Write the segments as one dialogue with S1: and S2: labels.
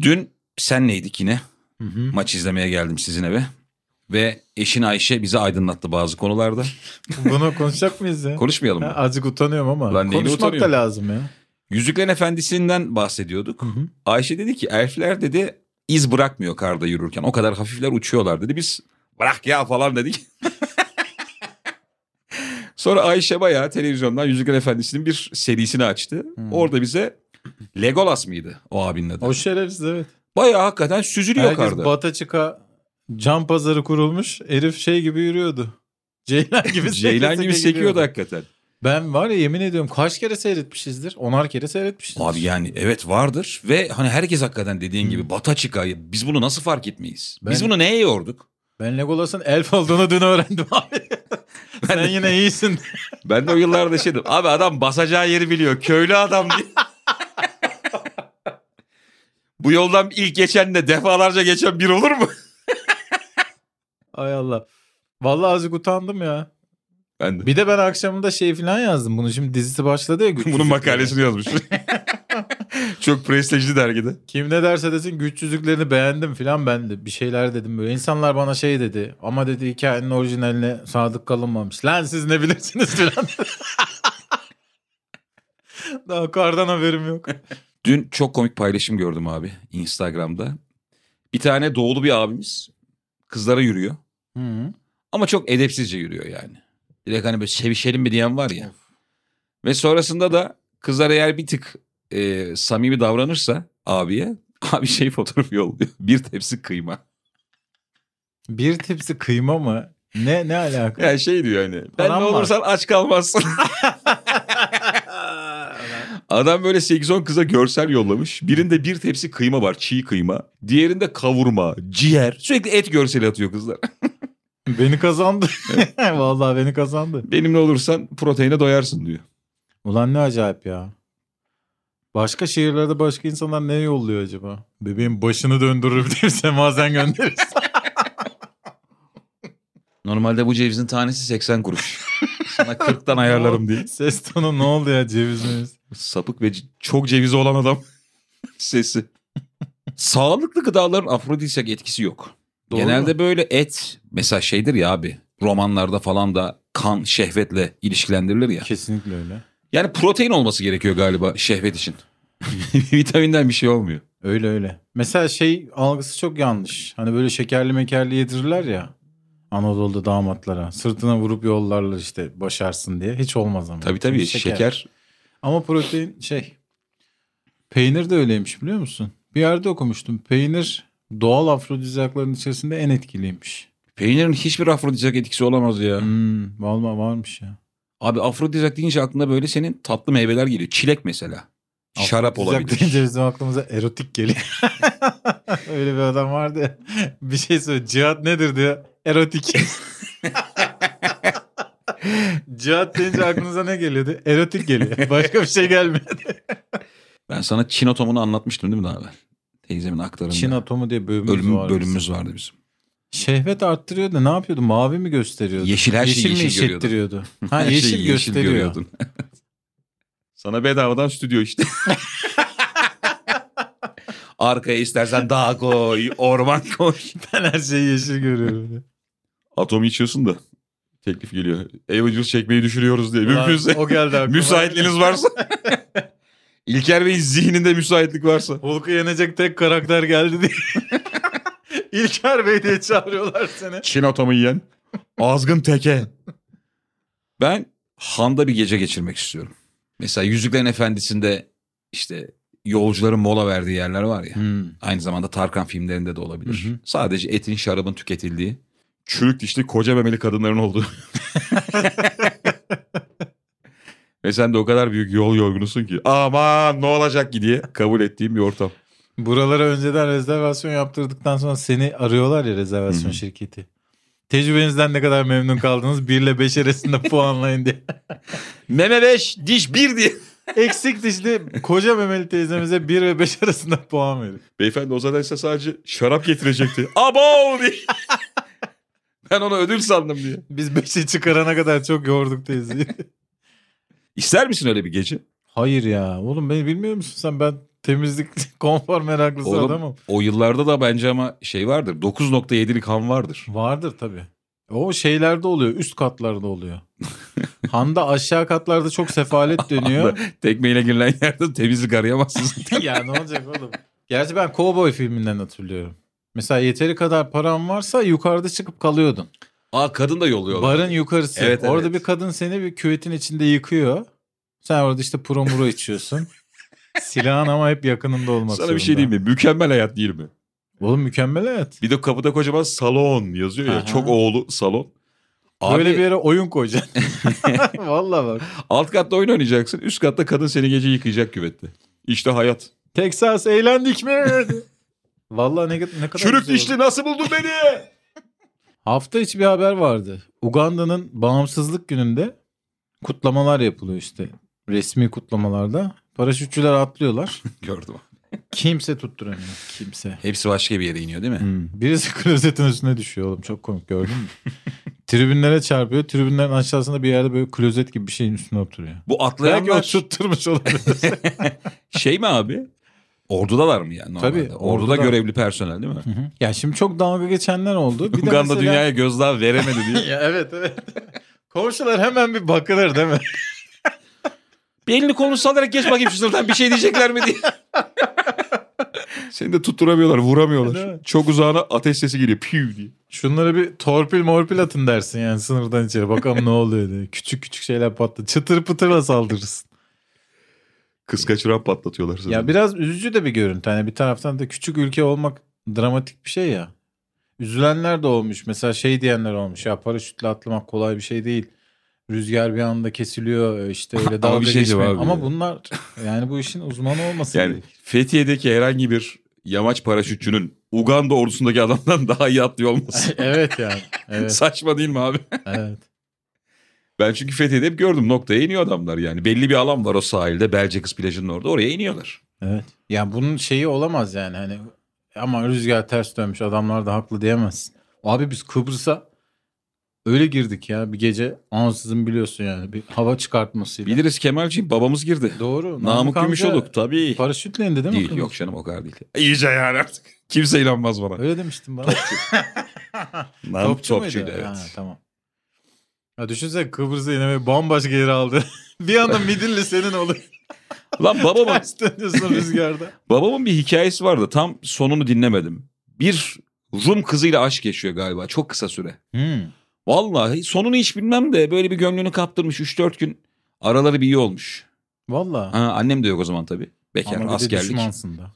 S1: Dün senleydik yine.
S2: Hı hı.
S1: Maç izlemeye geldim sizin eve. Ve eşin Ayşe bizi aydınlattı bazı konularda.
S2: Bunu konuşacak mıyız ya?
S1: Konuşmayalım
S2: Ha,
S1: mı?
S2: azıcık utanıyorum ama
S1: Lan neyine
S2: konuşmak da
S1: utanıyorsun?
S2: lazım ya.
S1: Yüzüklerin Efendisi'nden bahsediyorduk.
S2: Hı hı.
S1: Ayşe dedi ki elfler dedi iz bırakmıyor karda yürürken. O kadar hafifler uçuyorlar dedi. Biz bırak ya falan dedik. Sonra Ayşe bayağı televizyondan Yüzüklerin Efendisi'nin bir serisini açtı.
S2: Hmm.
S1: Orada bize Legolas mıydı o abinin adı?
S2: O şerefsiz evet.
S1: Bayağı hakikaten süzülüyor
S2: Herkes
S1: karda.
S2: bata çıka cam pazarı kurulmuş. Herif şey gibi yürüyordu. Ceylan gibi
S1: Ceylan
S2: seke seke
S1: gibi sekiyordu
S2: gidiyordu.
S1: hakikaten.
S2: Ben var ya yemin ediyorum kaç kere seyretmişizdir? Onar kere seyretmişizdir.
S1: Abi yani evet vardır ve hani herkes hakikaten dediğin gibi bata çıka biz bunu nasıl fark etmeyiz? Biz
S2: Ben-
S1: bunu neye yorduk?
S2: Ben Legolas'ın elf olduğunu dün öğrendim abi. Sen yine iyisin.
S1: Ben de o yıllarda şey dedim abi adam basacağı yeri biliyor köylü adam diye. Bu yoldan ilk geçen de defalarca geçen bir olur mu?
S2: Ay Allah. Vallahi azıcık utandım ya.
S1: Ben de.
S2: Bir de ben akşamında şey falan yazdım. Bunu şimdi dizisi başladı ya. Güçsüzlükler.
S1: Bunun makalesini yazmış. Çok prestijli dergide.
S2: Kim ne derse desin güçsüzlüklerini beğendim filan ben de bir şeyler dedim böyle. İnsanlar bana şey dedi ama dedi hikayenin orijinaline sadık kalınmamış. Lan siz ne bilirsiniz filan. Daha kardan haberim yok.
S1: Dün çok komik paylaşım gördüm abi Instagram'da. Bir tane doğulu bir abimiz kızlara yürüyor. Ama çok edepsizce yürüyor yani. Direkt hani böyle sevişelim mi diyen var ya. Ve sonrasında da kızlar eğer bir tık e, samimi davranırsa abiye abi şey fotoğrafı yolluyor. Bir tepsi kıyma.
S2: Bir tepsi kıyma mı? Ne ne alaka?
S1: Yani şey diyor hani ben
S2: Param
S1: ne
S2: var."
S1: olursan aç kalmazsın. Adam böyle 8-10 kıza görsel yollamış. Birinde bir tepsi kıyma var çiğ kıyma. Diğerinde kavurma, ciğer. Sürekli et görseli atıyor kızlar.
S2: beni kazandı. Vallahi beni kazandı.
S1: Benimle olursan proteine doyarsın diyor.
S2: Ulan ne acayip ya. Başka şehirlerde başka insanlar ne yolluyor acaba? Bebeğin başını döndürür diye semazen gönderir.
S1: Normalde bu cevizin tanesi 80 kuruş. Sana 40'tan ayarlarım diye.
S2: Ses tonu ne oldu ya cevizimiz?
S1: Sapık ve c- çok cevizi olan adam sesi. Sağlıklı gıdaların afrodisyak etkisi yok.
S2: Doğru
S1: Genelde böyle et mesela şeydir ya abi romanlarda falan da kan şehvetle ilişkilendirilir ya.
S2: Kesinlikle öyle.
S1: Yani protein olması gerekiyor galiba şehvet için. Vitaminden bir şey olmuyor.
S2: Öyle öyle. Mesela şey algısı çok yanlış. Hani böyle şekerli mekerli yedirirler ya. Anadolu'da damatlara. Sırtına vurup yollarlar işte başarsın diye. Hiç olmaz ama.
S1: Tabii tabii
S2: Çünkü
S1: şeker. şeker.
S2: Ama protein şey. Peynir de öyleymiş biliyor musun? Bir yerde okumuştum. Peynir doğal afrodizyakların içerisinde en etkiliymiş.
S1: Peynirin hiçbir afrodizyak etkisi olamaz ya.
S2: Hmm, vallahi varmış ya.
S1: Abi afrodizyak deyince aklına böyle senin tatlı meyveler geliyor. Çilek mesela. Şarap
S2: Afrodizyak
S1: olabilir.
S2: deyince bizim aklımıza erotik geliyor. Öyle bir adam vardı ya. Bir şey söyle. Cihat nedir diyor. Erotik. Cihat deyince aklınıza ne geliyordu? Erotik geliyor. Başka bir şey gelmiyor.
S1: Ben sana Çin atomunu anlatmıştım değil mi daha evvel? Teyzemin aktarında.
S2: Çin atomu diye bölümümüz
S1: Bölüm,
S2: var. bizim.
S1: bölümümüz vardı bizim.
S2: Şehvet arttırıyor da ne yapıyordu? Mavi mi gösteriyordu?
S1: Yeşil her şeyi
S2: yeşil mi
S1: yeşil, görüyordun.
S2: işittiriyordu? Ha
S1: Her
S2: yeşil
S1: şeyi
S2: gösteriyor.
S1: görüyordun. Sana bedavadan stüdyo işte. Arkaya istersen dağ koy, orman koy.
S2: Ben her şeyi yeşil görüyorum.
S1: Atom içiyorsun da teklif geliyor. Avengers çekmeyi düşürüyoruz diye.
S2: Ulan,
S1: Mümkünse
S2: o geldi aklıma.
S1: müsaitliğiniz varsa. İlker Bey'in zihninde müsaitlik varsa.
S2: Hulk'u yenecek tek karakter geldi diye. İlker Bey diye çağırıyorlar seni.
S1: Çin atomu yiyen. Azgın teke. Ben Han'da bir gece geçirmek istiyorum. Mesela Yüzüklerin Efendisi'nde işte yolcuların mola verdiği yerler var ya.
S2: Hmm.
S1: Aynı zamanda Tarkan filmlerinde de olabilir.
S2: Hı hı.
S1: Sadece etin şarabın tüketildiği. Çürük dişli koca memeli kadınların olduğu. Ve sen de o kadar büyük yol yorgunusun ki aman ne olacak ki diye kabul ettiğim bir ortam.
S2: Buralara önceden rezervasyon yaptırdıktan sonra seni arıyorlar ya rezervasyon
S1: Hı hı.
S2: şirketi. Tecrübenizden ne kadar memnun kaldınız? 1 ile 5 arasında puanlayın diye.
S1: Meme 5 diş 1 diye.
S2: Eksik dişli koca memeli teyzemize 1 ve 5 arasında puan verin.
S1: Beyefendi o zaten size sadece şarap getirecekti. Abo diye. ben ona ödül sandım diye.
S2: Biz 5'i çıkarana kadar çok yorduk teyzeyi.
S1: İster misin öyle bir gece?
S2: Hayır ya oğlum beni bilmiyor musun sen ben temizlik konfor meraklısı
S1: Oğlum-
S2: adamım.
S1: O yıllarda da bence ama şey vardır. 9.7'lik ham vardır.
S2: Vardır tabii. O şeylerde oluyor. Üst katlarda oluyor. Handa aşağı katlarda çok sefalet dönüyor.
S1: Tekmeyle girilen yerde temizlik arayamazsınız.
S2: ya ne olacak oğlum? Gerçi ben Cowboy filminden hatırlıyorum. Mesela yeteri kadar param varsa yukarıda çıkıp kalıyordun.
S1: Aa kadın da yolluyorlar.
S2: Barın yukarısı.
S1: Evet,
S2: orada
S1: evet.
S2: bir kadın seni bir küvetin içinde yıkıyor. Sen orada işte promuro içiyorsun. Silahın ama hep yakınında olmak
S1: Sana bir şey diyeyim mi? Mükemmel hayat değil mi?
S2: Oğlum mükemmel hayat.
S1: Bir de kapıda kocaman salon yazıyor ya.
S2: Aha.
S1: Çok oğlu salon. Abi
S2: Böyle bir yere oyun koyacaksın. Vallahi bak.
S1: alt katta oyun oynayacaksın. Üst katta kadın seni gece yıkayacak küvette. İşte hayat.
S2: Texas eğlendik mi? Vallahi ne, ne kadar
S1: Çürük
S2: güzel oldu.
S1: dişli nasıl buldun beni?
S2: Hafta içi bir haber vardı. Uganda'nın bağımsızlık gününde kutlamalar yapılıyor işte. Resmi kutlamalarda. Paraşütçüler atlıyorlar.
S1: Gördüm.
S2: Kimse tutturamıyor. Kimse.
S1: Hepsi başka bir yere iniyor değil mi?
S2: Hmm. Birisi klozetin üstüne düşüyor oğlum. Çok komik gördün mü? Tribünlere çarpıyor. Tribünlerin aşağısında bir yerde böyle klozet gibi bir şeyin üstüne oturuyor.
S1: Bu
S2: Belki o
S1: atlayanlar
S2: tutturmuş olabilir.
S1: şey mi abi? Ordudalar mı yani? Normalde?
S2: Tabii,
S1: Orduda,
S2: orduda.
S1: görevli personel değil mi?
S2: Hı hı. ya şimdi çok dalga geçenler oldu. Bir de
S1: Uganda
S2: mesela-
S1: dünyaya gözdağı veremedi diye.
S2: Ya evet evet. Komşular hemen bir bakılır değil mi?
S1: Bir elini kolunu sallayarak geç bakayım şu sınıftan bir şey diyecekler mi diye. Seni de tutturamıyorlar,
S2: Değil mi?
S1: vuramıyorlar. Çok uzağına ateş sesi geliyor. Piu diye.
S2: Şunlara bir torpil morpil atın dersin yani sınırdan içeri. Bakalım ne oluyor diye. Küçük küçük şeyler patladı. Çıtır pıtırla saldırırsın.
S1: Kız kaçıran patlatıyorlar sana.
S2: ya biraz üzücü de bir görüntü. Hani bir taraftan da küçük ülke olmak dramatik bir şey ya. Üzülenler de olmuş. Mesela şey diyenler olmuş. Ya paraşütle atlamak kolay bir şey değil. Rüzgar bir anda kesiliyor. e, işte öyle
S1: Ama
S2: dalga
S1: bir şey
S2: geçmeyin.
S1: cevabı
S2: Ama
S1: yok.
S2: bunlar yani bu işin uzmanı olması
S1: yani
S2: gerek.
S1: Fethiye'deki herhangi bir yamaç paraşütçünün Uganda ordusundaki adamdan daha iyi atlıyor olması.
S2: evet yani. Evet.
S1: Saçma değil mi abi?
S2: evet.
S1: Ben çünkü Fethiye'de hep gördüm noktaya iniyor adamlar yani. Belli bir alan var o sahilde Belce Kız plajının orada oraya iniyorlar.
S2: Evet. Ya bunun şeyi olamaz yani hani ama rüzgar ters dönmüş adamlar da haklı diyemezsin. Abi biz Kıbrıs'a öyle girdik ya bir gece ansızın biliyorsun yani bir hava çıkartmasıyla.
S1: Biliriz Kemalciğim babamız girdi.
S2: Doğru.
S1: Namık
S2: amca
S1: Gümüşoluk tabii.
S2: Paraşütle indi değil mi?
S1: Değil
S2: Kıbrıs?
S1: yok canım o kadar değil. İyice yani artık. Kimse inanmaz bana.
S2: Öyle demiştin bana.
S1: Namık
S2: muydu?
S1: Topçu'ydu evet.
S2: Ha, tamam. Ya düşünsene Kıbrıs'a yine böyle bambaşka yere aldı. bir anda Midilli senin olur.
S1: Lan babamın,
S2: Ters dönüyorsun rüzgarda.
S1: babamın bir hikayesi vardı. Tam sonunu dinlemedim. Bir Rum kızıyla aşk yaşıyor galiba. Çok kısa süre.
S2: Hmm.
S1: Vallahi sonunu hiç bilmem de böyle bir gönlünü kaptırmış 3-4 gün. Araları bir iyi olmuş.
S2: Valla.
S1: Ha, annem de yok o zaman tabii. Bekar,
S2: Ama bir de
S1: askerlik.
S2: düşmansın da.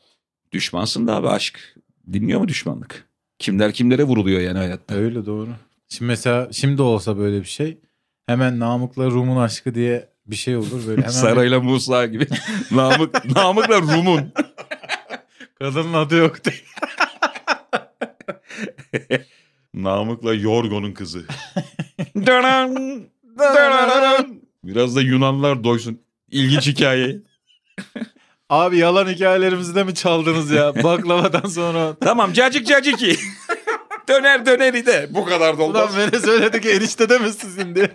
S1: Düşmansın da abi aşk. Dinliyor mu düşmanlık? Kimler kimlere vuruluyor yani hayatta.
S2: Öyle doğru. Şimdi mesela şimdi olsa böyle bir şey hemen Namık'la Rum'un aşkı diye bir şey olur böyle hemen bir
S1: Sarayla Musa gibi. Namık, Namık'la Rum'un.
S2: kadının adı yok diye.
S1: Namık'la Yorgo'nun kızı. Dönen, dönen. Biraz da Yunanlar doysun. İlginç hikaye.
S2: Abi yalan hikayelerimizi de mi çaldınız ya baklavadan sonra?
S1: tamam cacık caciki. döner döneri de. Bu kadar da
S2: Ulan beni söyledik enişte de mi sizin diye.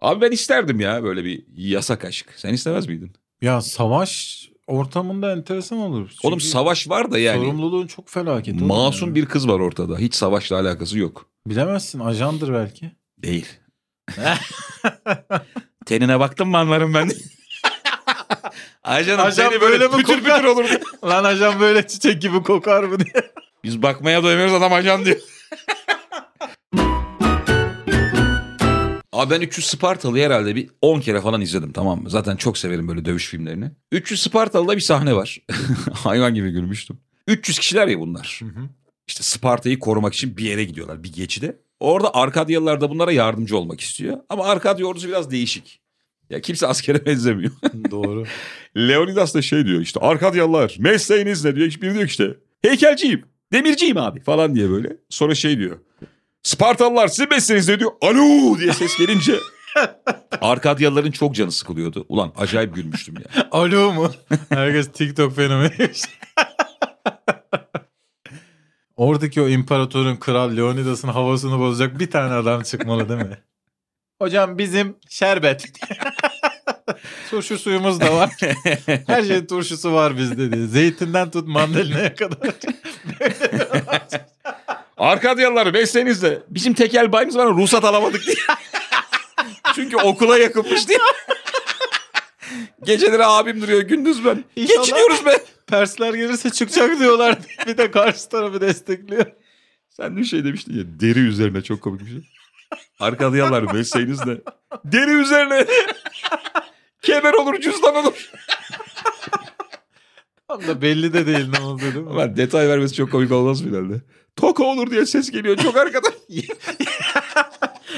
S1: Abi ben isterdim ya böyle bir yasak aşk. Sen istemez miydin?
S2: Ya savaş ortamında enteresan olur. Çünkü
S1: Oğlum savaş var da yani.
S2: Sorumluluğun çok felaket. oğlum
S1: Masum
S2: ya.
S1: bir kız var ortada. Hiç savaşla alakası yok.
S2: Bilemezsin ajandır belki.
S1: Değil. Tenine baktım mı anlarım ben. Ajanım
S2: Ajan
S1: teni böyle,
S2: böyle mi
S1: pütür
S2: kokar?
S1: pütür olur.
S2: Lan ajan böyle çiçek gibi kokar mı diye.
S1: Biz bakmaya doymuyoruz adam ajan diyor. Abi ben 300 Spartalı'yı herhalde bir 10 kere falan izledim tamam mı? Zaten çok severim böyle dövüş filmlerini. 300 Spartalı'da bir sahne var. Hayvan gibi gülmüştüm. 300 kişiler ya bunlar. İşte Sparta'yı korumak için bir yere gidiyorlar bir geçide. Orada Arkadyalılar da bunlara yardımcı olmak istiyor. Ama Arkadya ordusu biraz değişik. Ya kimse askere benzemiyor.
S2: Doğru.
S1: Leonidas da şey diyor işte Arkadyalılar mesleğiniz ne diyor. Biri diyor ki işte heykelciyim, demirciyim abi falan diye böyle. Sonra şey diyor. Spartalılar sizin mesleğiniz ne diyor. Alo diye ses gelince. Arkadyalıların çok canı sıkılıyordu. Ulan acayip gülmüştüm ya.
S2: Alo mu? Herkes TikTok fenomeniymiş. Oradaki o imparatorun kral Leonidas'ın havasını bozacak bir tane adam çıkmalı değil mi? Hocam bizim şerbet. Turşu suyumuz da var. Her şeyin turşusu var bizde diye. Zeytinden tut mandalinaya kadar.
S1: Arkadyalıları besleniz de bizim tekel bayımız var ama ruhsat alamadık diye. Çünkü okula yakınmış diye. Geceleri abim duruyor gündüz ben.
S2: İnşallah-
S1: Geçiniyoruz be.
S2: Persler gelirse çıkacak diyorlar. Bir de karşı tarafı destekliyor.
S1: Sen bir şey demiştin ya deri üzerine çok komik bir şey. Arkadyalıları besleniz de deri üzerine. Kemer olur cüzdan olur.
S2: Tam da belli de değil ne oldu değil mi?
S1: Ulan detay vermesi çok komik olmaz mı ileride? Toka olur diye ses geliyor çok arkadan.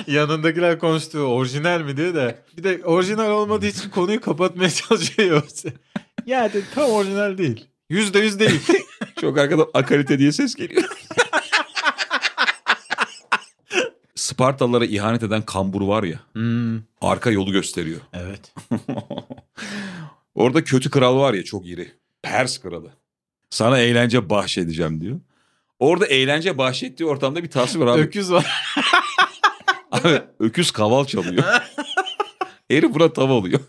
S2: Yanındakiler konuştu. Orijinal mi diyor da. Bir de orijinal olmadığı için konuyu kapatmaya çalışıyor. ya de, tam orijinal değil. Yüzde yüz değil.
S1: Çok arkadan akalite diye ses geliyor. Spartalılara ihanet eden kambur var ya.
S2: Hmm,
S1: Arka yolu gösteriyor.
S2: evet.
S1: Orada kötü kral var ya çok iri. Pers kralı. Sana eğlence bahşedeceğim diyor. Orada eğlence bahşettiği ortamda bir tasvir var abi.
S2: Öküz var.
S1: Abi, öküz kaval çalıyor. Eri buna tav oluyor.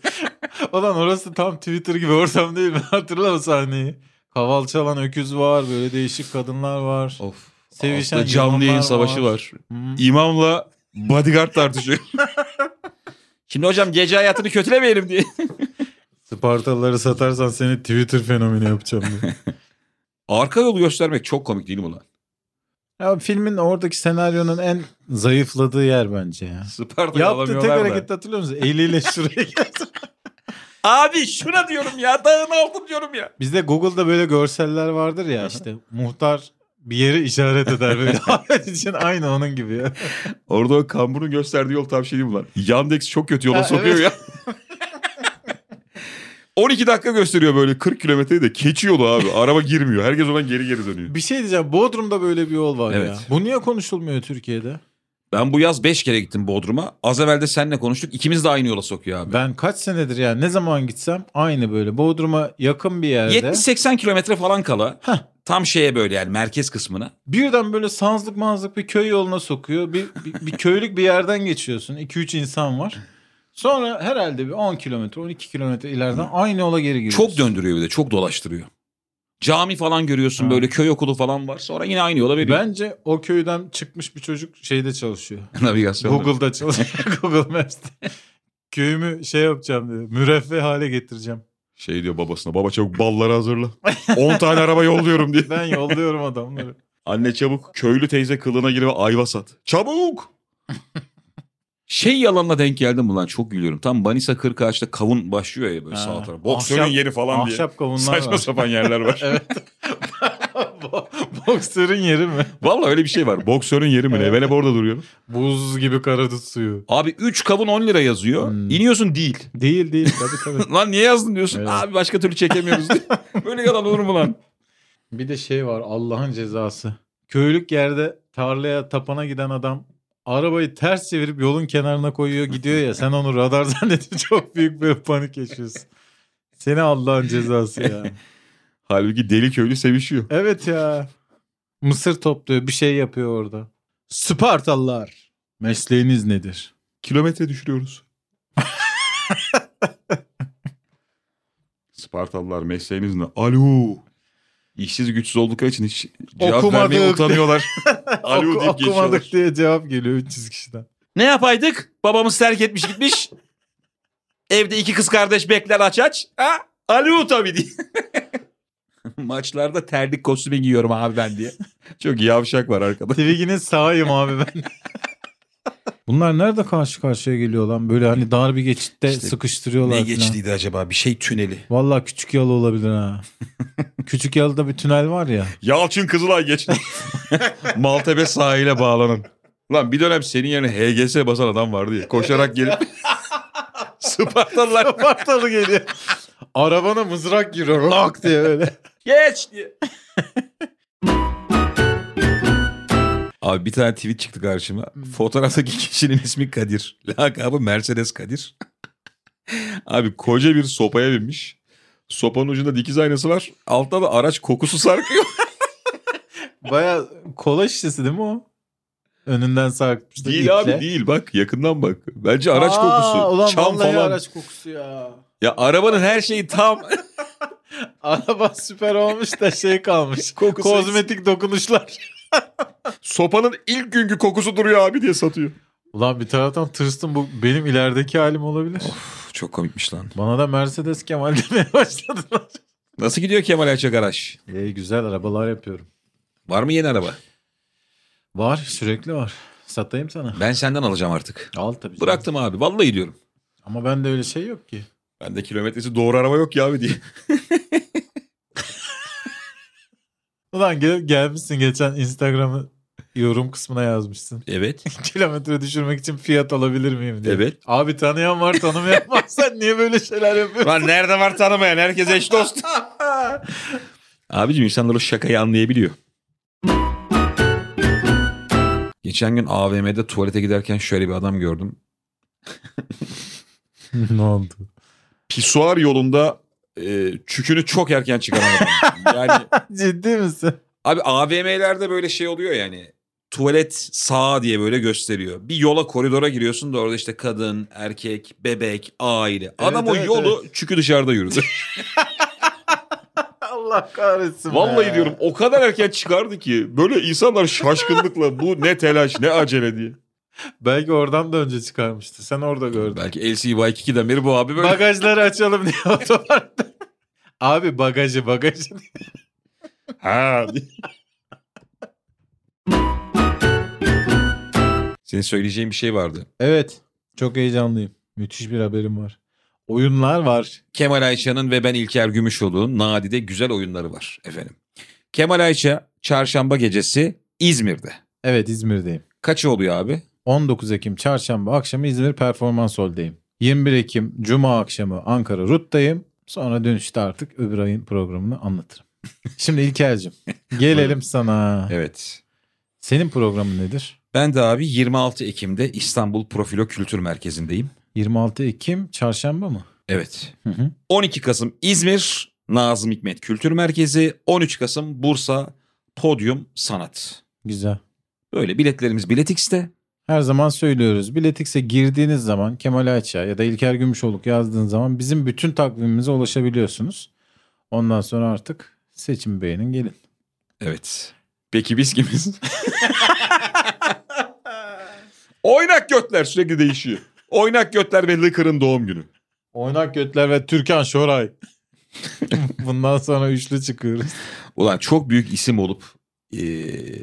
S2: Olan orası tam Twitter gibi ortam değil mi? Hatırla o sahneyi. Kaval çalan öküz var. Böyle değişik kadınlar var.
S1: Of.
S2: Sevişen
S1: Altta canlı yayın
S2: imamlar
S1: savaşı
S2: var.
S1: var.
S2: Hmm.
S1: İmamla bodyguard tartışıyor. Şimdi hocam gece hayatını kötülemeyelim diye.
S2: Spartalıları satarsan seni Twitter fenomeni yapacağım diyor.
S1: Arka yolu göstermek çok komik değil mi lan?
S2: ya filmin oradaki senaryonun en zayıfladığı yer bence ya.
S1: Sparta'yı
S2: Yaptı tek
S1: alamıyorlar da.
S2: hareketi hatırlıyor musun? Eliyle şuraya geldi.
S1: Abi şuna diyorum ya dağın altı diyorum ya.
S2: Bizde Google'da böyle görseller vardır ya işte muhtar bir yeri işaret eder böyle. Ahmet için aynı onun gibi ya.
S1: Orada o kamburun gösterdiği yol tam şey değil mi lan? Yandex çok kötü yola
S2: Ha,
S1: sokuyor
S2: evet.
S1: ya. 12 dakika gösteriyor böyle 40 kilometreyi de keçi yolu abi. Araba girmiyor. Herkes ondan geri geri dönüyor.
S2: Bir şey diyeceğim Bodrum'da böyle bir yol var ya.
S1: Evet.
S2: Bu niye konuşulmuyor Türkiye'de?
S1: Ben bu yaz 5 kere gittim Bodrum'a. Az evvel de seninle konuştuk. İkimiz de aynı yola sokuyor abi.
S2: Ben kaç senedir ya ne zaman gitsem aynı böyle Bodrum'a yakın bir yerde.
S1: 70-80 kilometre falan kala.
S2: Heh.
S1: Tam şeye böyle yani merkez kısmına.
S2: Birden böyle sanzlık manzlık bir köy yoluna sokuyor. Bir, bir, bir köylük bir yerden geçiyorsun. 2-3 insan var. Sonra herhalde bir 10 kilometre 12 kilometre ileriden aynı yola geri giriyorsun.
S1: Çok döndürüyor bir de çok dolaştırıyor. Cami falan görüyorsun
S2: Ha.
S1: böyle köy okulu falan var. Sonra yine aynı yola veriyor.
S2: Bence o köyden çıkmış bir çocuk şeyde çalışıyor.
S1: Navigasyon.
S2: Google'da çalışıyor. Google Maps'te. Köyümü şey yapacağım diyor. Müreffeh hale getireceğim.
S1: Şey diyor babasına baba çabuk balları hazırla. 10 tane araba yolluyorum diye.
S2: Ben yolluyorum adamları.
S1: Anne çabuk köylü teyze kılığına gir ve ayva sat. Çabuk! şey yalanla denk geldim mi lan çok gülüyorum. Tam Manisa Kırkağaç'ta kavun başlıyor ya böyle
S2: Ha.
S1: sağ taraf. Boksörün
S2: Ahşap-
S1: yeri falan diye.
S2: Ahşap kavunlar
S1: Saçma
S2: var.
S1: sapan yerler var.
S2: Bo- Boksörün yeri mi?
S1: Valla öyle bir şey var. Boksörün yeri mi ne?
S2: Evet.
S1: Ben hep orada duruyorum.
S2: Buz gibi karadut suyu.
S1: Abi 3 kavun 10 lira yazıyor.
S2: Hmm.
S1: İniyorsun değil.
S2: Değil değil tabii tabii.
S1: lan niye yazdın diyorsun.
S2: Evet.
S1: Abi başka türlü çekemiyoruz diye. Böyle yalan olur mu lan?
S2: Bir de şey var Allah'ın cezası. Köylük yerde tarlaya tapana giden adam arabayı ters çevirip yolun kenarına koyuyor gidiyor ya sen onu radar zannedip çok büyük bir panik yaşıyorsun. Seni Allah'ın cezası ya.
S1: Halbuki deli köylü sevişiyor.
S2: Evet ya. Mısır topluyor bir şey yapıyor orada. Spartalılar. Mesleğiniz nedir?
S1: Kilometre düşürüyoruz. Spartalılar mesleğiniz ne? Alo. İşsiz güçsüz oldukları için hiç cevap
S2: Okumadık.
S1: vermeye utanıyorlar. Alo
S2: Oku-
S1: deyip geçiyorlar.
S2: okumadık diye cevap geliyor 300 kişiden.
S1: Ne yapaydık? Babamız terk etmiş gitmiş. Evde iki kız kardeş bekler aç aç. Ha? Alo tabii diye. Maçlarda terlik kostümü giyiyorum abi ben diye. Çok yavşak var arkada.
S2: Twiggy'nin sağıyım abi ben. Bunlar nerede karşı karşıya geliyor lan? Böyle hani dar bir geçitte
S1: İşte
S2: sıkıştırıyorlar.
S1: Ne
S2: falan.
S1: geçtiydi acaba? Bir şey tüneli.
S2: Valla küçük yalı olabilir ha. küçük yalıda bir tünel var ya.
S1: Yalçın Kızılay geç. Maltepe sahile bağlanan. Lan bir dönem senin yerine HGS basan adam vardı ya. Koşarak gelip Spartalılar
S2: Spartalı geliyor. Arabana mızrak giriyor lak diye böyle.
S1: geç diye. Abi bir tane tweet çıktı karşıma. Fotoğraftaki kişinin ismi Kadir. Lakabı Mercedes Kadir. Abi koca bir sopaya binmiş. Sopanın ucunda dikiz aynası var. Altta da araç kokusu sarkıyor.
S2: Baya kola şişesi değil mi o? Önünden sarkmış.
S1: değil abi değil bak yakından bak. Bence araç kokusu.
S2: Ulan
S1: Çam
S2: vallahi
S1: falan.
S2: araç kokusu ya.
S1: Ya arabanın her şeyi tam
S2: Araba süper olmuş da şey kalmış.
S3: Kokusu
S2: Kozmetik dokunuşlar.
S3: Sopanın ilk günkü kokusu duruyor abi diye satıyor.
S2: Ulan bir taraftan tırstım bu benim ilerideki halim olabilir.
S1: Uf, çok komikmiş lan.
S2: Bana da Mercedes Kemal demeye başladılar.
S1: Nasıl gidiyor Kemal Ayça Garaj?
S2: Ee, güzel arabalar yapıyorum.
S1: Var mı yeni araba?
S2: Var sürekli var. Satayım sana.
S1: Ben senden alacağım artık.
S2: Al tabii. canım.
S1: Bıraktım abi vallahi diyorum.
S2: Ama bende öyle şey yok ki.
S1: Bende kilometresi doğru araba yok ya abi diye.
S2: Ulan gel, gelmişsin geçen Instagram'ı yorum kısmına yazmışsın.
S1: Evet.
S2: Kilometre düşürmek için fiyat alabilir miyim diye.
S1: Evet.
S2: Abi tanıyan var tanımayan var. Sen niye böyle şeyler yapıyorsun?
S1: Lan nerede var tanımayan herkes eş dost. Abicim insanlar o şakayı anlayabiliyor. Geçen gün AVM'de tuvalete giderken şöyle bir adam gördüm.
S2: ne oldu?
S3: Pisuar yolunda e,
S1: Çükünü çok erken çıkaran adam. Yani
S2: Ciddi misin?
S1: abi AVM'lerde böyle şey oluyor yani. Tuvalet sağa diye böyle gösteriyor. Bir yola koridora giriyorsun da orada işte kadın, erkek, bebek, aile. Adam o
S2: evet,
S1: yolu çükü dışarıda yürüdü.
S2: Allah kahretsin.
S3: Vallahi
S2: be.
S3: diyorum o kadar erken çıkardı ki böyle insanlar şaşkınlıkla bu ne telaş ne acele diye.
S2: Belki oradan da önce çıkarmıştı. Sen orada gördün.
S1: Belki LC by 2'den beri bu abi böyle.
S2: Bagajları açalım diye otoparkta. Abi bagajı bagajı.
S3: Ha.
S1: Senin söyleyeceğin bir şey vardı.
S2: Evet. Çok heyecanlıyım. Müthiş bir haberim var. Oyunlar var.
S1: Kemal Ayça'nın ve ben İlker Gümüşoğlu'nun Nadi'de güzel oyunları var efendim. Kemal Ayça çarşamba gecesi İzmir'de.
S2: Evet İzmir'deyim.
S1: Kaçı oluyor abi?
S2: 19 Ekim çarşamba akşamı İzmir Performans Hall'deyim. 21 Ekim Cuma akşamı Ankara RUT'tayım. Sonra dönüşte artık öbür ayın programını anlatırım. Şimdi İlker'cim gelelim sana.
S1: Evet.
S2: Senin programın nedir?
S1: Ben de abi 26 Ekim'de İstanbul Profilo Kültür Merkezi'ndeyim.
S2: 26 Ekim çarşamba mı?
S1: Evet.
S2: Hı hı.
S1: 12 Kasım İzmir Nazım Hikmet Kültür Merkezi. 13 Kasım Bursa Podyum Sanat.
S2: Güzel.
S1: Böyle biletlerimiz Biletix'te.
S2: Her zaman söylüyoruz. Biletix'e girdiğiniz zaman Kemal Ayça ya da İlker Gümüşoluk yazdığınız zaman bizim bütün takvimimize ulaşabiliyorsunuz. Ondan sonra artık seçim beğenin gelin.
S1: Evet. Peki biz kimiz? Oynak götler sürekli değişiyor.
S3: Oynak götler ve Lıkır'ın doğum günü.
S2: Oynak Götler ve Türkan Şoray. Bundan sonra üçlü çıkıyoruz.
S1: Ulan çok büyük isim olup eee,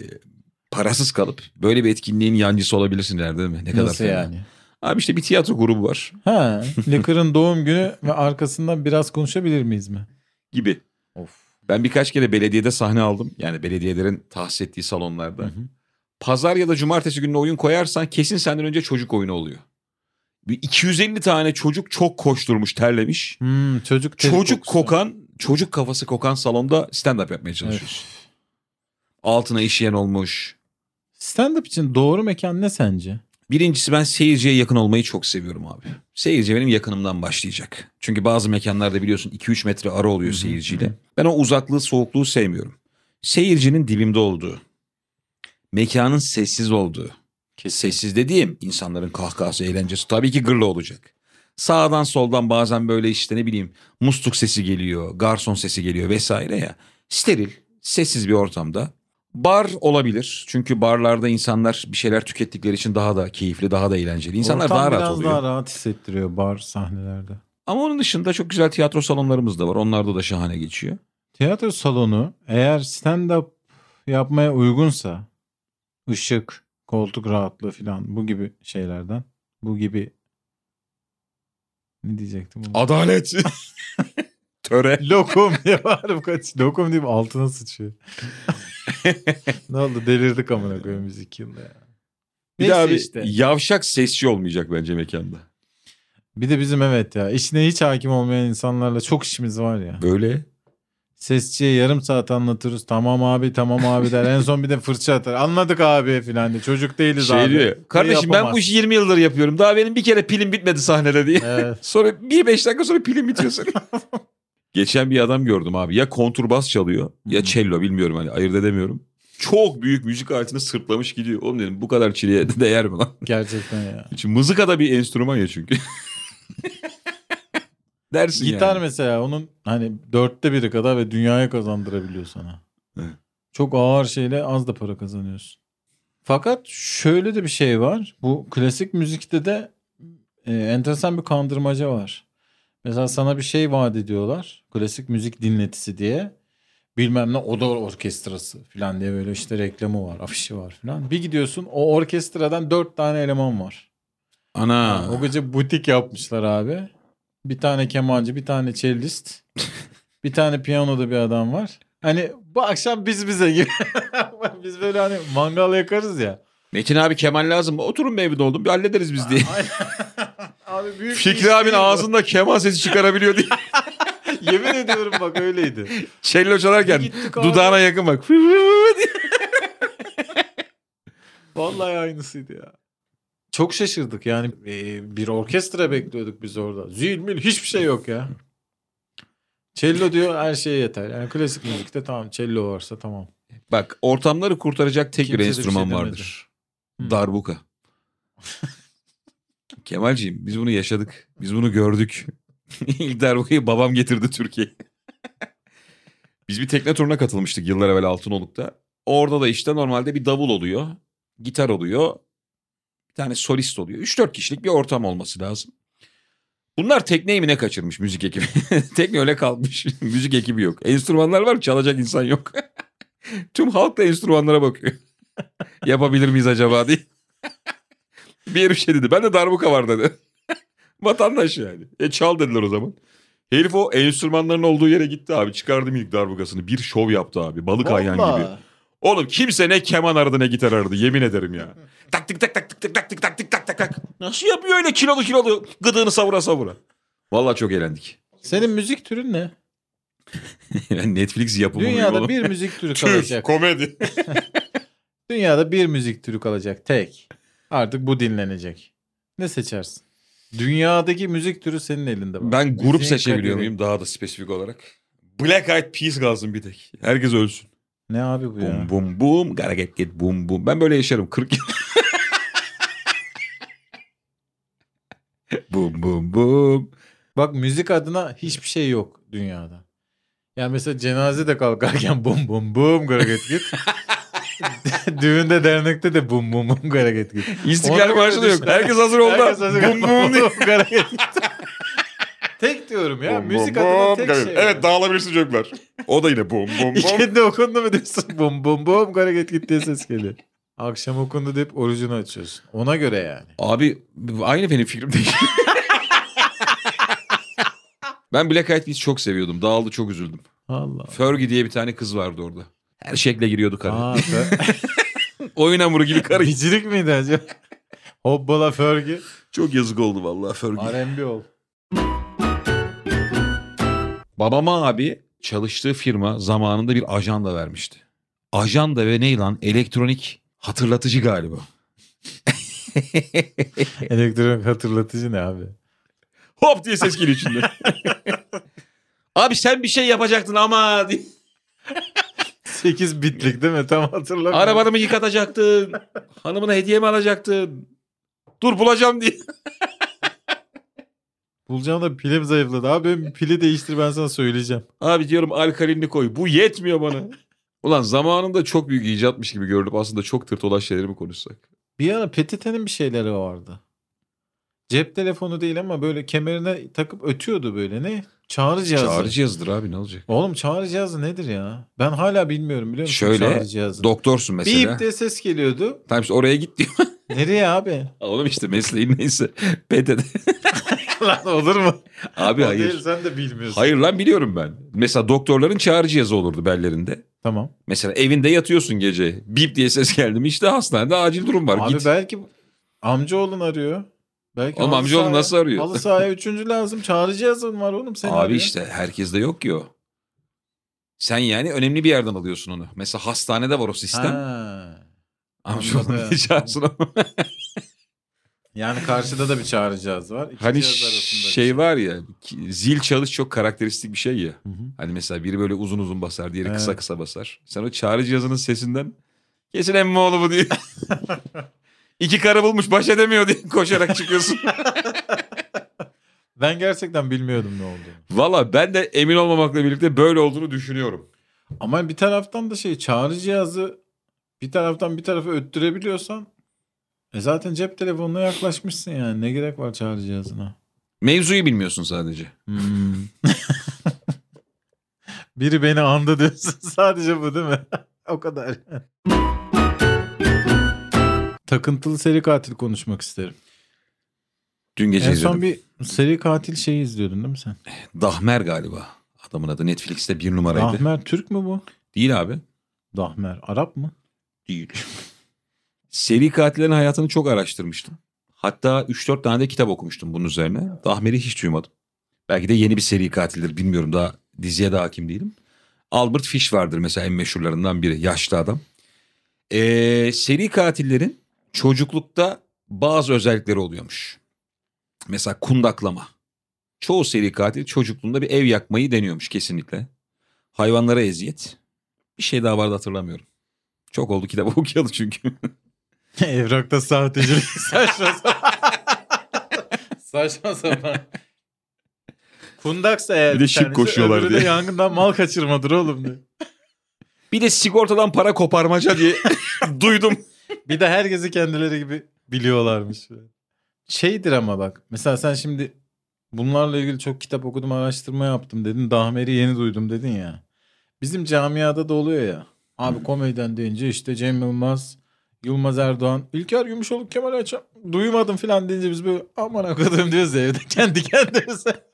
S1: parasız kalıp böyle bir etkinliğin yancısı olabilirsin der değil mi? Ne kadar
S2: Nasıl
S1: fena.
S2: yani?
S1: Abi işte bir tiyatro grubu var
S2: Ha, Licker'ın doğum günü ve arkasından biraz konuşabilir miyiz mi?
S1: gibi.
S2: Of.
S1: Ben birkaç kere belediyede sahne aldım. Yani belediyelerin tahsis ettiği salonlarda. Pazar ya da cumartesi gününe oyun koyarsan kesin senden önce çocuk oyunu oluyor. Bir 250 tane çocuk çok koşturmuş, terlemiş.
S2: Hmm, çocuk teri
S1: Çocuk
S2: kokusu.
S1: kokan, çocuk kafası kokan salonda stand-up yapmaya çalışıyorsun. Altına işeyen olmuş,
S2: Stand-up için doğru mekan ne sence?
S1: Birincisi ben seyirciye yakın olmayı çok seviyorum abi. Seyirci benim yakınımdan başlayacak. Çünkü bazı mekanlarda biliyorsun 2-3 metre ara oluyor
S2: Hı hı,
S1: seyirciyle. Ben o uzaklığı soğukluğu sevmiyorum. Seyircinin dibimde olduğu. Mekanın sessiz olduğu. Sessiz dediğim insanların kahkahası eğlencesi tabii ki gırla olacak. Sağdan soldan bazen böyle işte ne bileyim musluk sesi geliyor, garson sesi geliyor vesaire ya. Steril, sessiz bir ortamda Bar olabilir. Çünkü barlarda insanlar bir şeyler tükettikleri için daha da keyifli, daha da eğlenceli. İnsanlar
S2: Ortam
S1: daha rahat
S2: biraz
S1: oluyor.
S2: daha rahat hissettiriyor bar sahnelerde.
S1: Ama onun dışında çok güzel tiyatro salonlarımız da var. Onlarda da şahane geçiyor.
S2: Tiyatro salonu eğer stand-up yapmaya uygunsa ışık, koltuk rahatlığı falan bu gibi şeylerden bu gibi ne diyecektim? bunu?
S3: Adalet. Töre.
S2: Lokum diye bağırıp kaç. Lokum deyip altına sıçıyor. ne oldu delirdik amına koyayım biz iki yılda ya.
S3: Bir de
S2: Neyse
S3: abi
S2: işte.
S3: yavşak sesçi olmayacak bence mekanda.
S2: Bir de bizim evet ya işine hiç hakim olmayan insanlarla çok işimiz var ya.
S1: Böyle.
S2: Sesçiye yarım saat anlatırız. Tamam abi tamam abi der. En son bir de fırça atar. Anladık abi filan de. Çocuk değiliz
S1: Şey
S2: abi.
S1: diyor. ya,
S2: Bunu
S1: Kardeşim ben bu
S2: yapamaz."
S1: işi 20 yıldır yapıyorum. Daha benim bir kere pilim bitmedi sahnede diye.
S2: Evet.
S1: Sonra bir beş dakika sonra pilim bitiyor senin. Geçen bir adam gördüm abi. Ya konturbas çalıyor ya
S2: Hı.
S1: cello bilmiyorum hani ayırt edemiyorum. Çok büyük müzik aletini sırtlamış gidiyor. Oğlum dedim bu kadar çileye değer mi lan?
S2: Gerçekten ya.
S1: Çünkü mızıka da bir enstrüman ya çünkü. Dersin
S2: Gitar
S1: yani.
S2: mesela onun hani dörtte biri kadar ve dünyaya kazandırabiliyor sana.
S1: Evet.
S2: Çok ağır şeyle az da para kazanıyorsun. Fakat şöyle de bir şey var. Bu klasik müzikte de e, enteresan bir kandırmaca var. Mesela sana bir şey vaat ediyorlar. Klasik müzik dinletisi diye. Bilmem ne oda orkestrası falan diye böyle işte reklamı var, afişi var falan. Bir gidiyorsun o orkestradan dört tane eleman var.
S1: Ana.
S2: O gece butik yapmışlar abi. Bir tane kemancı, bir tane cellist, bir tane piyanoda bir adam var. Hani bu akşam biz bize gibi. biz böyle hani mangal yakarız ya.
S1: Metin abi keman lazım mı? Oturun be evde oğlum bir hallederiz biz diye.
S2: Aynen. abi büyük bir iş
S3: Fikri
S2: değil
S3: abin
S2: bu.
S3: ağzında keman sesi çıkarabiliyor diye.
S2: Yemin ediyorum bak öyleydi.
S1: Çello
S2: Bir
S1: çalarken
S2: gittik abi.
S1: dudağına yakın bak.
S2: Vallahi aynısıydı ya. Çok şaşırdık yani Ee, bir orkestra bekliyorduk biz orada. Zil mil hiçbir şey yok ya. Cello diyor her şeye yeter. Yani klasik müzikte tamam cello varsa tamam.
S1: Bak ortamları kurtaracak tek
S2: Kimse de
S1: bir
S2: bir
S1: enstrüman
S2: şey demedi.
S1: vardır.
S2: Hı.
S1: Darbuka. Kemalciğim biz bunu yaşadık. Biz bunu gördük. İlk darbukayı babam getirdi Türkiye'ye. biz bir tekne turuna katılmıştık yıllar evvel Altınoluk'ta. Orada da işte normalde bir davul oluyor. Gitar oluyor. Bir tane solist oluyor. 3-4 kişilik bir ortam olması lazım. Bunlar tekneyi mi ne kaçırmış müzik ekibi? Tekne öyle kalmış. müzik ekibi yok. Enstrümanlar var çalacak insan yok. Tüm halk da enstrümanlara bakıyor. Yapabilir miyiz acaba diye. bir herif şey dedi. Ben de darbuka var dedi. Vatandaş yani.
S3: E çal dediler o zaman. Herif o enstrümanların olduğu yere gitti abi. Çıkardım ilk darbukasını. Bir şov yaptı abi. Balık ayyan gibi.
S2: Vallahi.
S3: Oğlum kimse ne keman aradı ne gitar aradı. Yemin ederim ya. tak tık tak tak tık tık tak tık tak tık tak tak tak. Nasıl yapıyor öyle kilolu kilolu gıdığını savura savura. Vallahi çok eğlendik.
S2: Senin müzik türün ne?
S1: Yani Netflix yapımı mıyım
S2: Dünyada
S1: oğlum?
S2: bir müzik türü
S3: Tüh
S2: kalacak.
S3: komedi.
S2: Dünyada bir müzik türü kalacak tek. Artık bu dinlenecek. Ne seçersin? Dünyadaki müzik türü senin elinde. bak.
S1: Ben grup
S2: Müziğin
S1: seçebiliyor
S2: kaderi.
S1: muyum daha da spesifik olarak?
S3: Black Eyed Peas kalsın bir tek. Herkes ölsün.
S2: Ne abi bu ya?
S1: Bum bum bum. Gotta get get bum bum. Ben böyle yaşarım. 40 yıl. bum bum bum.
S2: Bak müzik adına hiçbir şey yok dünyada. Yani mesela cenaze de kalkarken bum bum bum garaget git. Düğünde dernekte de bum bum bum garaget git.
S1: İstiklal
S2: Ona
S1: Marşı da
S2: göre
S1: yok.
S2: düşün.
S1: Herkes hazır oldu.
S2: Herkes hazır.
S1: Bum bum diye.
S2: garaget git. Tek diyorum ya.
S3: Bum,
S2: müzik
S3: bum,
S2: adına
S3: bum,
S2: tek
S3: garip.
S2: şey. var.
S3: Evet dağılabilirsin çocuklar. O da yine bum bum bum.
S2: İkindi okundu mu diyorsun bum bum bum garaget git diye ses geliyor. Akşam okundu deyip orucunu açıyorsun. Ona göre yani.
S1: Abi aynı benim fikrim değil. ben Black Eyed Peas'i çok seviyordum. Dağıldı çok üzüldüm.
S2: Allah.
S1: Fergie diye bir tane kız vardı orada. Her şekle giriyordu karı.
S2: Aa, fe-
S1: Oyun hamuru gibi karı.
S2: Bicilik miydi acaba? Hobbala Fergie.
S1: Çok yazık oldu vallahi Fergie.
S2: R&B ol.
S1: Babama abi çalıştığı firma zamanında bir ajanda vermişti. Ajanda ve ne lan elektronik hatırlatıcı galiba.
S2: Elektronik hatırlatıcı ne abi?
S3: Hop diye ses geliyor içinde.
S1: Abi sen bir şey yapacaktın ama diye.
S2: 8 bitlik değil mi? Tam hatırlamıyorum.
S1: arabanı mı yıkatacaktın? Hanımına hediye mi alacaktın? Dur bulacağım diye.
S2: Bulacağım da pilim zayıfladı. Abi benim pili değiştir ben sana söyleyeceğim.
S1: Abi diyorum alkalinli koy. Bu yetmiyor bana. Ulan zamanında çok büyük icatmış gibi görünüp aslında çok tırt olan şeyleri mi konuşsak?
S2: Bir ara Petiten'in bir şeyleri vardı. Cep telefonu değil ama böyle kemerine takıp ötüyordu böyle ne? Çağrı cihazı.
S1: Çağrı cihazıdır abi ne olacak?
S2: Oğlum çağrı cihazı nedir ya? Ben hala bilmiyorum biliyor musun
S1: Şöyle,
S2: çağrı cihazı?
S1: Doktorsun mesela.
S2: Bip diye ses geliyordu.
S1: Tamam işte oraya git diyor.
S2: Nereye abi?
S1: Oğlum işte mesleğin neyse. PTT.
S2: Lan olur mu?
S1: Abi
S2: O
S1: hayır.
S2: değil, sen de bilmiyorsun.
S1: Hayır lan biliyorum ben. Mesela doktorların çağrı cihazı olurdu bellerinde.
S2: Tamam.
S1: Mesela evinde yatıyorsun gece. Bip diye ses geldi mi işte hastanede acil durum var.
S2: abi
S1: Git.
S2: belki amcaoğlun arıyor. Belki
S1: Oğlum
S2: halı
S1: amcaoğlu
S2: sahaya-
S1: nasıl arıyor?
S2: Halı sahaya üçüncü lazım. Çağrı cihazın var oğlum senin.
S1: Abi
S2: arıyor.
S1: işte herkeste yok ki o. Sen yani önemli bir yerden alıyorsun onu. Mesela hastanede var o sistem.
S2: Ha.
S1: Amcaoğlunu
S2: anladım.
S1: diye çağırsın ama.
S2: Yani karşıda da bir çağrı cihazı var. İki
S1: hani
S2: cihaz arasında bir
S1: şey var ya ki- zil çalış çok karakteristik bir şey ya.
S2: Hı hı.
S1: Hani mesela biri böyle uzun uzun basar diğeri kısa
S2: Evet.
S1: kısa basar. Sen o çağrı cihazının sesinden kesin emmi oğlu bu diye. İki karı bulmuş baş edemiyor diye koşarak çıkıyorsun.
S2: Ben gerçekten bilmiyordum ne olduğunu.
S3: Valla ben de emin olmamakla birlikte böyle olduğunu düşünüyorum.
S2: Ama bir taraftan da şey çağrı cihazı bir taraftan bir tarafa öttürebiliyorsan e zaten cep telefonuna yaklaşmışsın yani. Ne gerek var çağrı cihazına?
S1: Mevzuyu bilmiyorsun sadece.
S2: Hmm. Biri beni andı diyorsun. Sadece bu değil mi? o kadar. Takıntılı seri katil konuşmak isterim.
S1: Dün gece
S2: en
S1: izledim.
S2: son bir seri katil şeyi izliyordun değil mi sen?
S1: Dahmer galiba adamın adı. Netflix'te bir numaraydı.
S2: Dahmer Türk mü bu?
S1: Değil abi.
S2: Dahmer Arap mı?
S1: Değil. Seri katillerin hayatını çok araştırmıştım. Hatta 3-4 tane de kitap okumuştum bunun üzerine. Dahmer'i hiç duymadım. Belki de yeni bir seri katildir bilmiyorum daha diziye de hakim değilim. Albert Fish vardır mesela en meşhurlarından biri yaşlı adam. Ee, seri katillerin çocuklukta bazı özellikleri oluyormuş. Mesela kundaklama. Çoğu seri katil çocukluğunda bir ev yakmayı deniyormuş kesinlikle. Hayvanlara eziyet. Bir şey daha vardı hatırlamıyorum. Çok oldu kitabı okuyalı çünkü.
S2: Evrakta sahtecilik saçma sapan. saçma sapan. Kundaksa eğer
S3: Bir de şık
S2: tanesi,
S3: koşuyorlar
S2: öbürü de
S3: diye.
S2: yangından mal kaçırmadır oğlum diye.
S1: bir de sigortadan para koparmaca diye duydum.
S2: Bir de herkesi kendileri gibi biliyorlarmış. Şeydir ama bak. Mesela sen şimdi bunlarla ilgili çok kitap okudum, araştırma yaptım dedin. Dahmer'i yeni duydum dedin ya. Bizim camiada da oluyor ya. Abi komediden deyince işte Cem Yılmaz, Yılmaz Erdoğan, İlker Gümüşoluk, Kemal Ayça duymadım falan deyince biz böyle aman akıdım diyoruz ya evde kendi kendimize.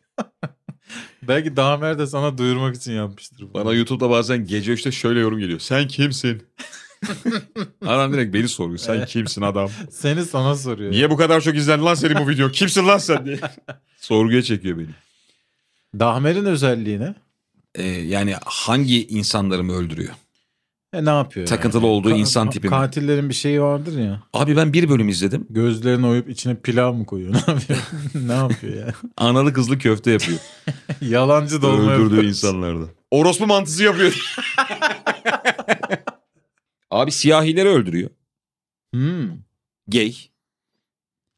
S2: Belki Dahmer de sana duyurmak için yapmıştır. bunu.
S3: Bana YouTube'da bazen gece 3'te şöyle yorum geliyor. Sen kimsin? Adam direkt beni soruyor. Sen kimsin adam?
S2: Seni sana soruyor.
S3: Niye bu kadar çok izlendi lan senin bu video? Kimsin lan sen diye. Sorguya çekiyor beni.
S2: Dahmer'in özelliği ne?
S1: Ee, yani hangi insanları mı öldürüyor?
S2: E ne yapıyor?
S1: Takıntılı olduğu insan tipi mi?
S2: Katillerin bir şeyi vardır ya.
S1: Abi ben bir bölüm izledim.
S2: Gözlerini oyup içine pilav mı koyuyor? Ne yapıyor? ne yapıyor ya?
S1: Analı kızlı köfte yapıyor.
S2: Yalancı dolma
S3: Öldürdüğü
S2: yapıyor.
S3: insanlarda. Orospu mantısı yapıyor.
S1: Abi siyahileri öldürüyor.
S2: Hmm.
S1: Gay.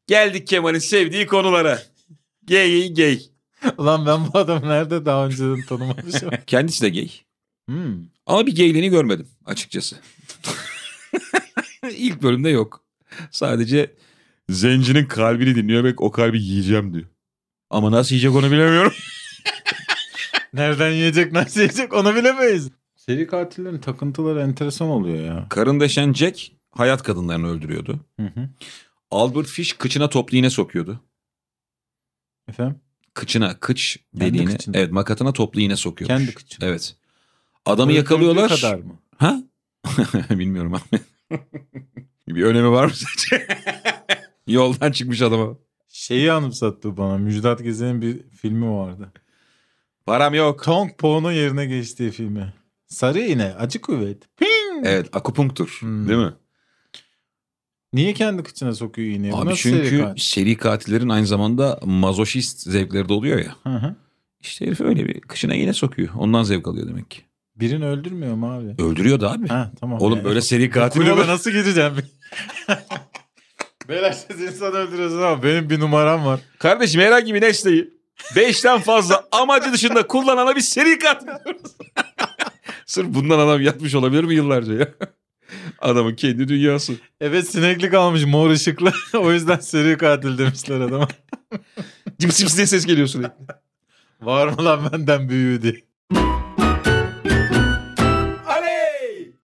S3: Geldik Kemal'in sevdiği konulara. Gay gay.
S2: Ulan ben bu adamı nerede daha önceden tanımamışım.
S1: Kendisi de gay.
S2: hmm.
S1: Ama bir gayliğini görmedim açıkçası. İlk bölümde yok. Sadece
S3: Zencinin kalbini dinliyor bek o kalbi yiyeceğim diyor. Ama nasıl yiyecek onu bilemiyorum.
S2: Nereden yiyecek nasıl yiyecek onu bilemeyiz. Seri katillerin takıntıları enteresan oluyor ya.
S1: karın deşen Jack hayat kadınlarını öldürüyordu.
S2: Hı hı.
S1: Albert Fish kıçına toplu iğne sokuyordu.
S2: Efendim?
S1: Kıçına, kıç
S2: Kendi
S1: deliğine.
S2: kıçına.
S1: Evet makatına toplu iğne sokuyormuş.
S2: Kendi kıçına.
S1: Evet. E, Adamı yakalıyorlar.
S2: Öldürdüğü kadar mı?
S1: Ha? Bilmiyorum abi.
S3: bir önemi var mı sence?
S1: Yoldan çıkmış adama.
S2: Şeyi anımsattı bana. Müjdat Gezen'in bir filmi vardı.
S1: Param yok.
S2: Tong Po'nun yerine geçtiği filmi. Sarı iğne, acı kuvvet. Ping!
S1: Evet akupunktur.
S2: Hmm.
S3: Değil mi?
S2: Niye kendi kıçına sokuyor iğneyi? Bu
S1: Abi
S2: nasıl
S1: çünkü
S2: seri katil?
S1: seri, katillerin aynı zamanda mazoşist zevkleri de oluyor ya.
S2: Hı hı.
S1: İşte herif öyle bir kışına iğne sokuyor. Ondan zevk alıyor demek ki.
S2: Birini öldürmüyor mu abi?
S1: Öldürüyor da abi.
S2: Ha tamam.
S1: Oğlum
S2: Yani.
S1: böyle seri katil mi
S2: Kulübe
S1: olur?
S2: nasıl gireceğim? Beyler siz insan öldürüyorsunuz ama benim bir numaram var.
S3: Kardeşim herhangi bir nesneyi beşten fazla amacı dışında kullanana bir seri katil diyoruz. Sırf bundan adam yatmış olabilir mi yıllarca ya? Adamın kendi dünyası.
S2: Evet sineklik almış mor ışıklı. o yüzden seri katil demişler adama.
S3: Cips cips diye ses geliyor sürekli.
S2: var mı lan benden büyüğü diye.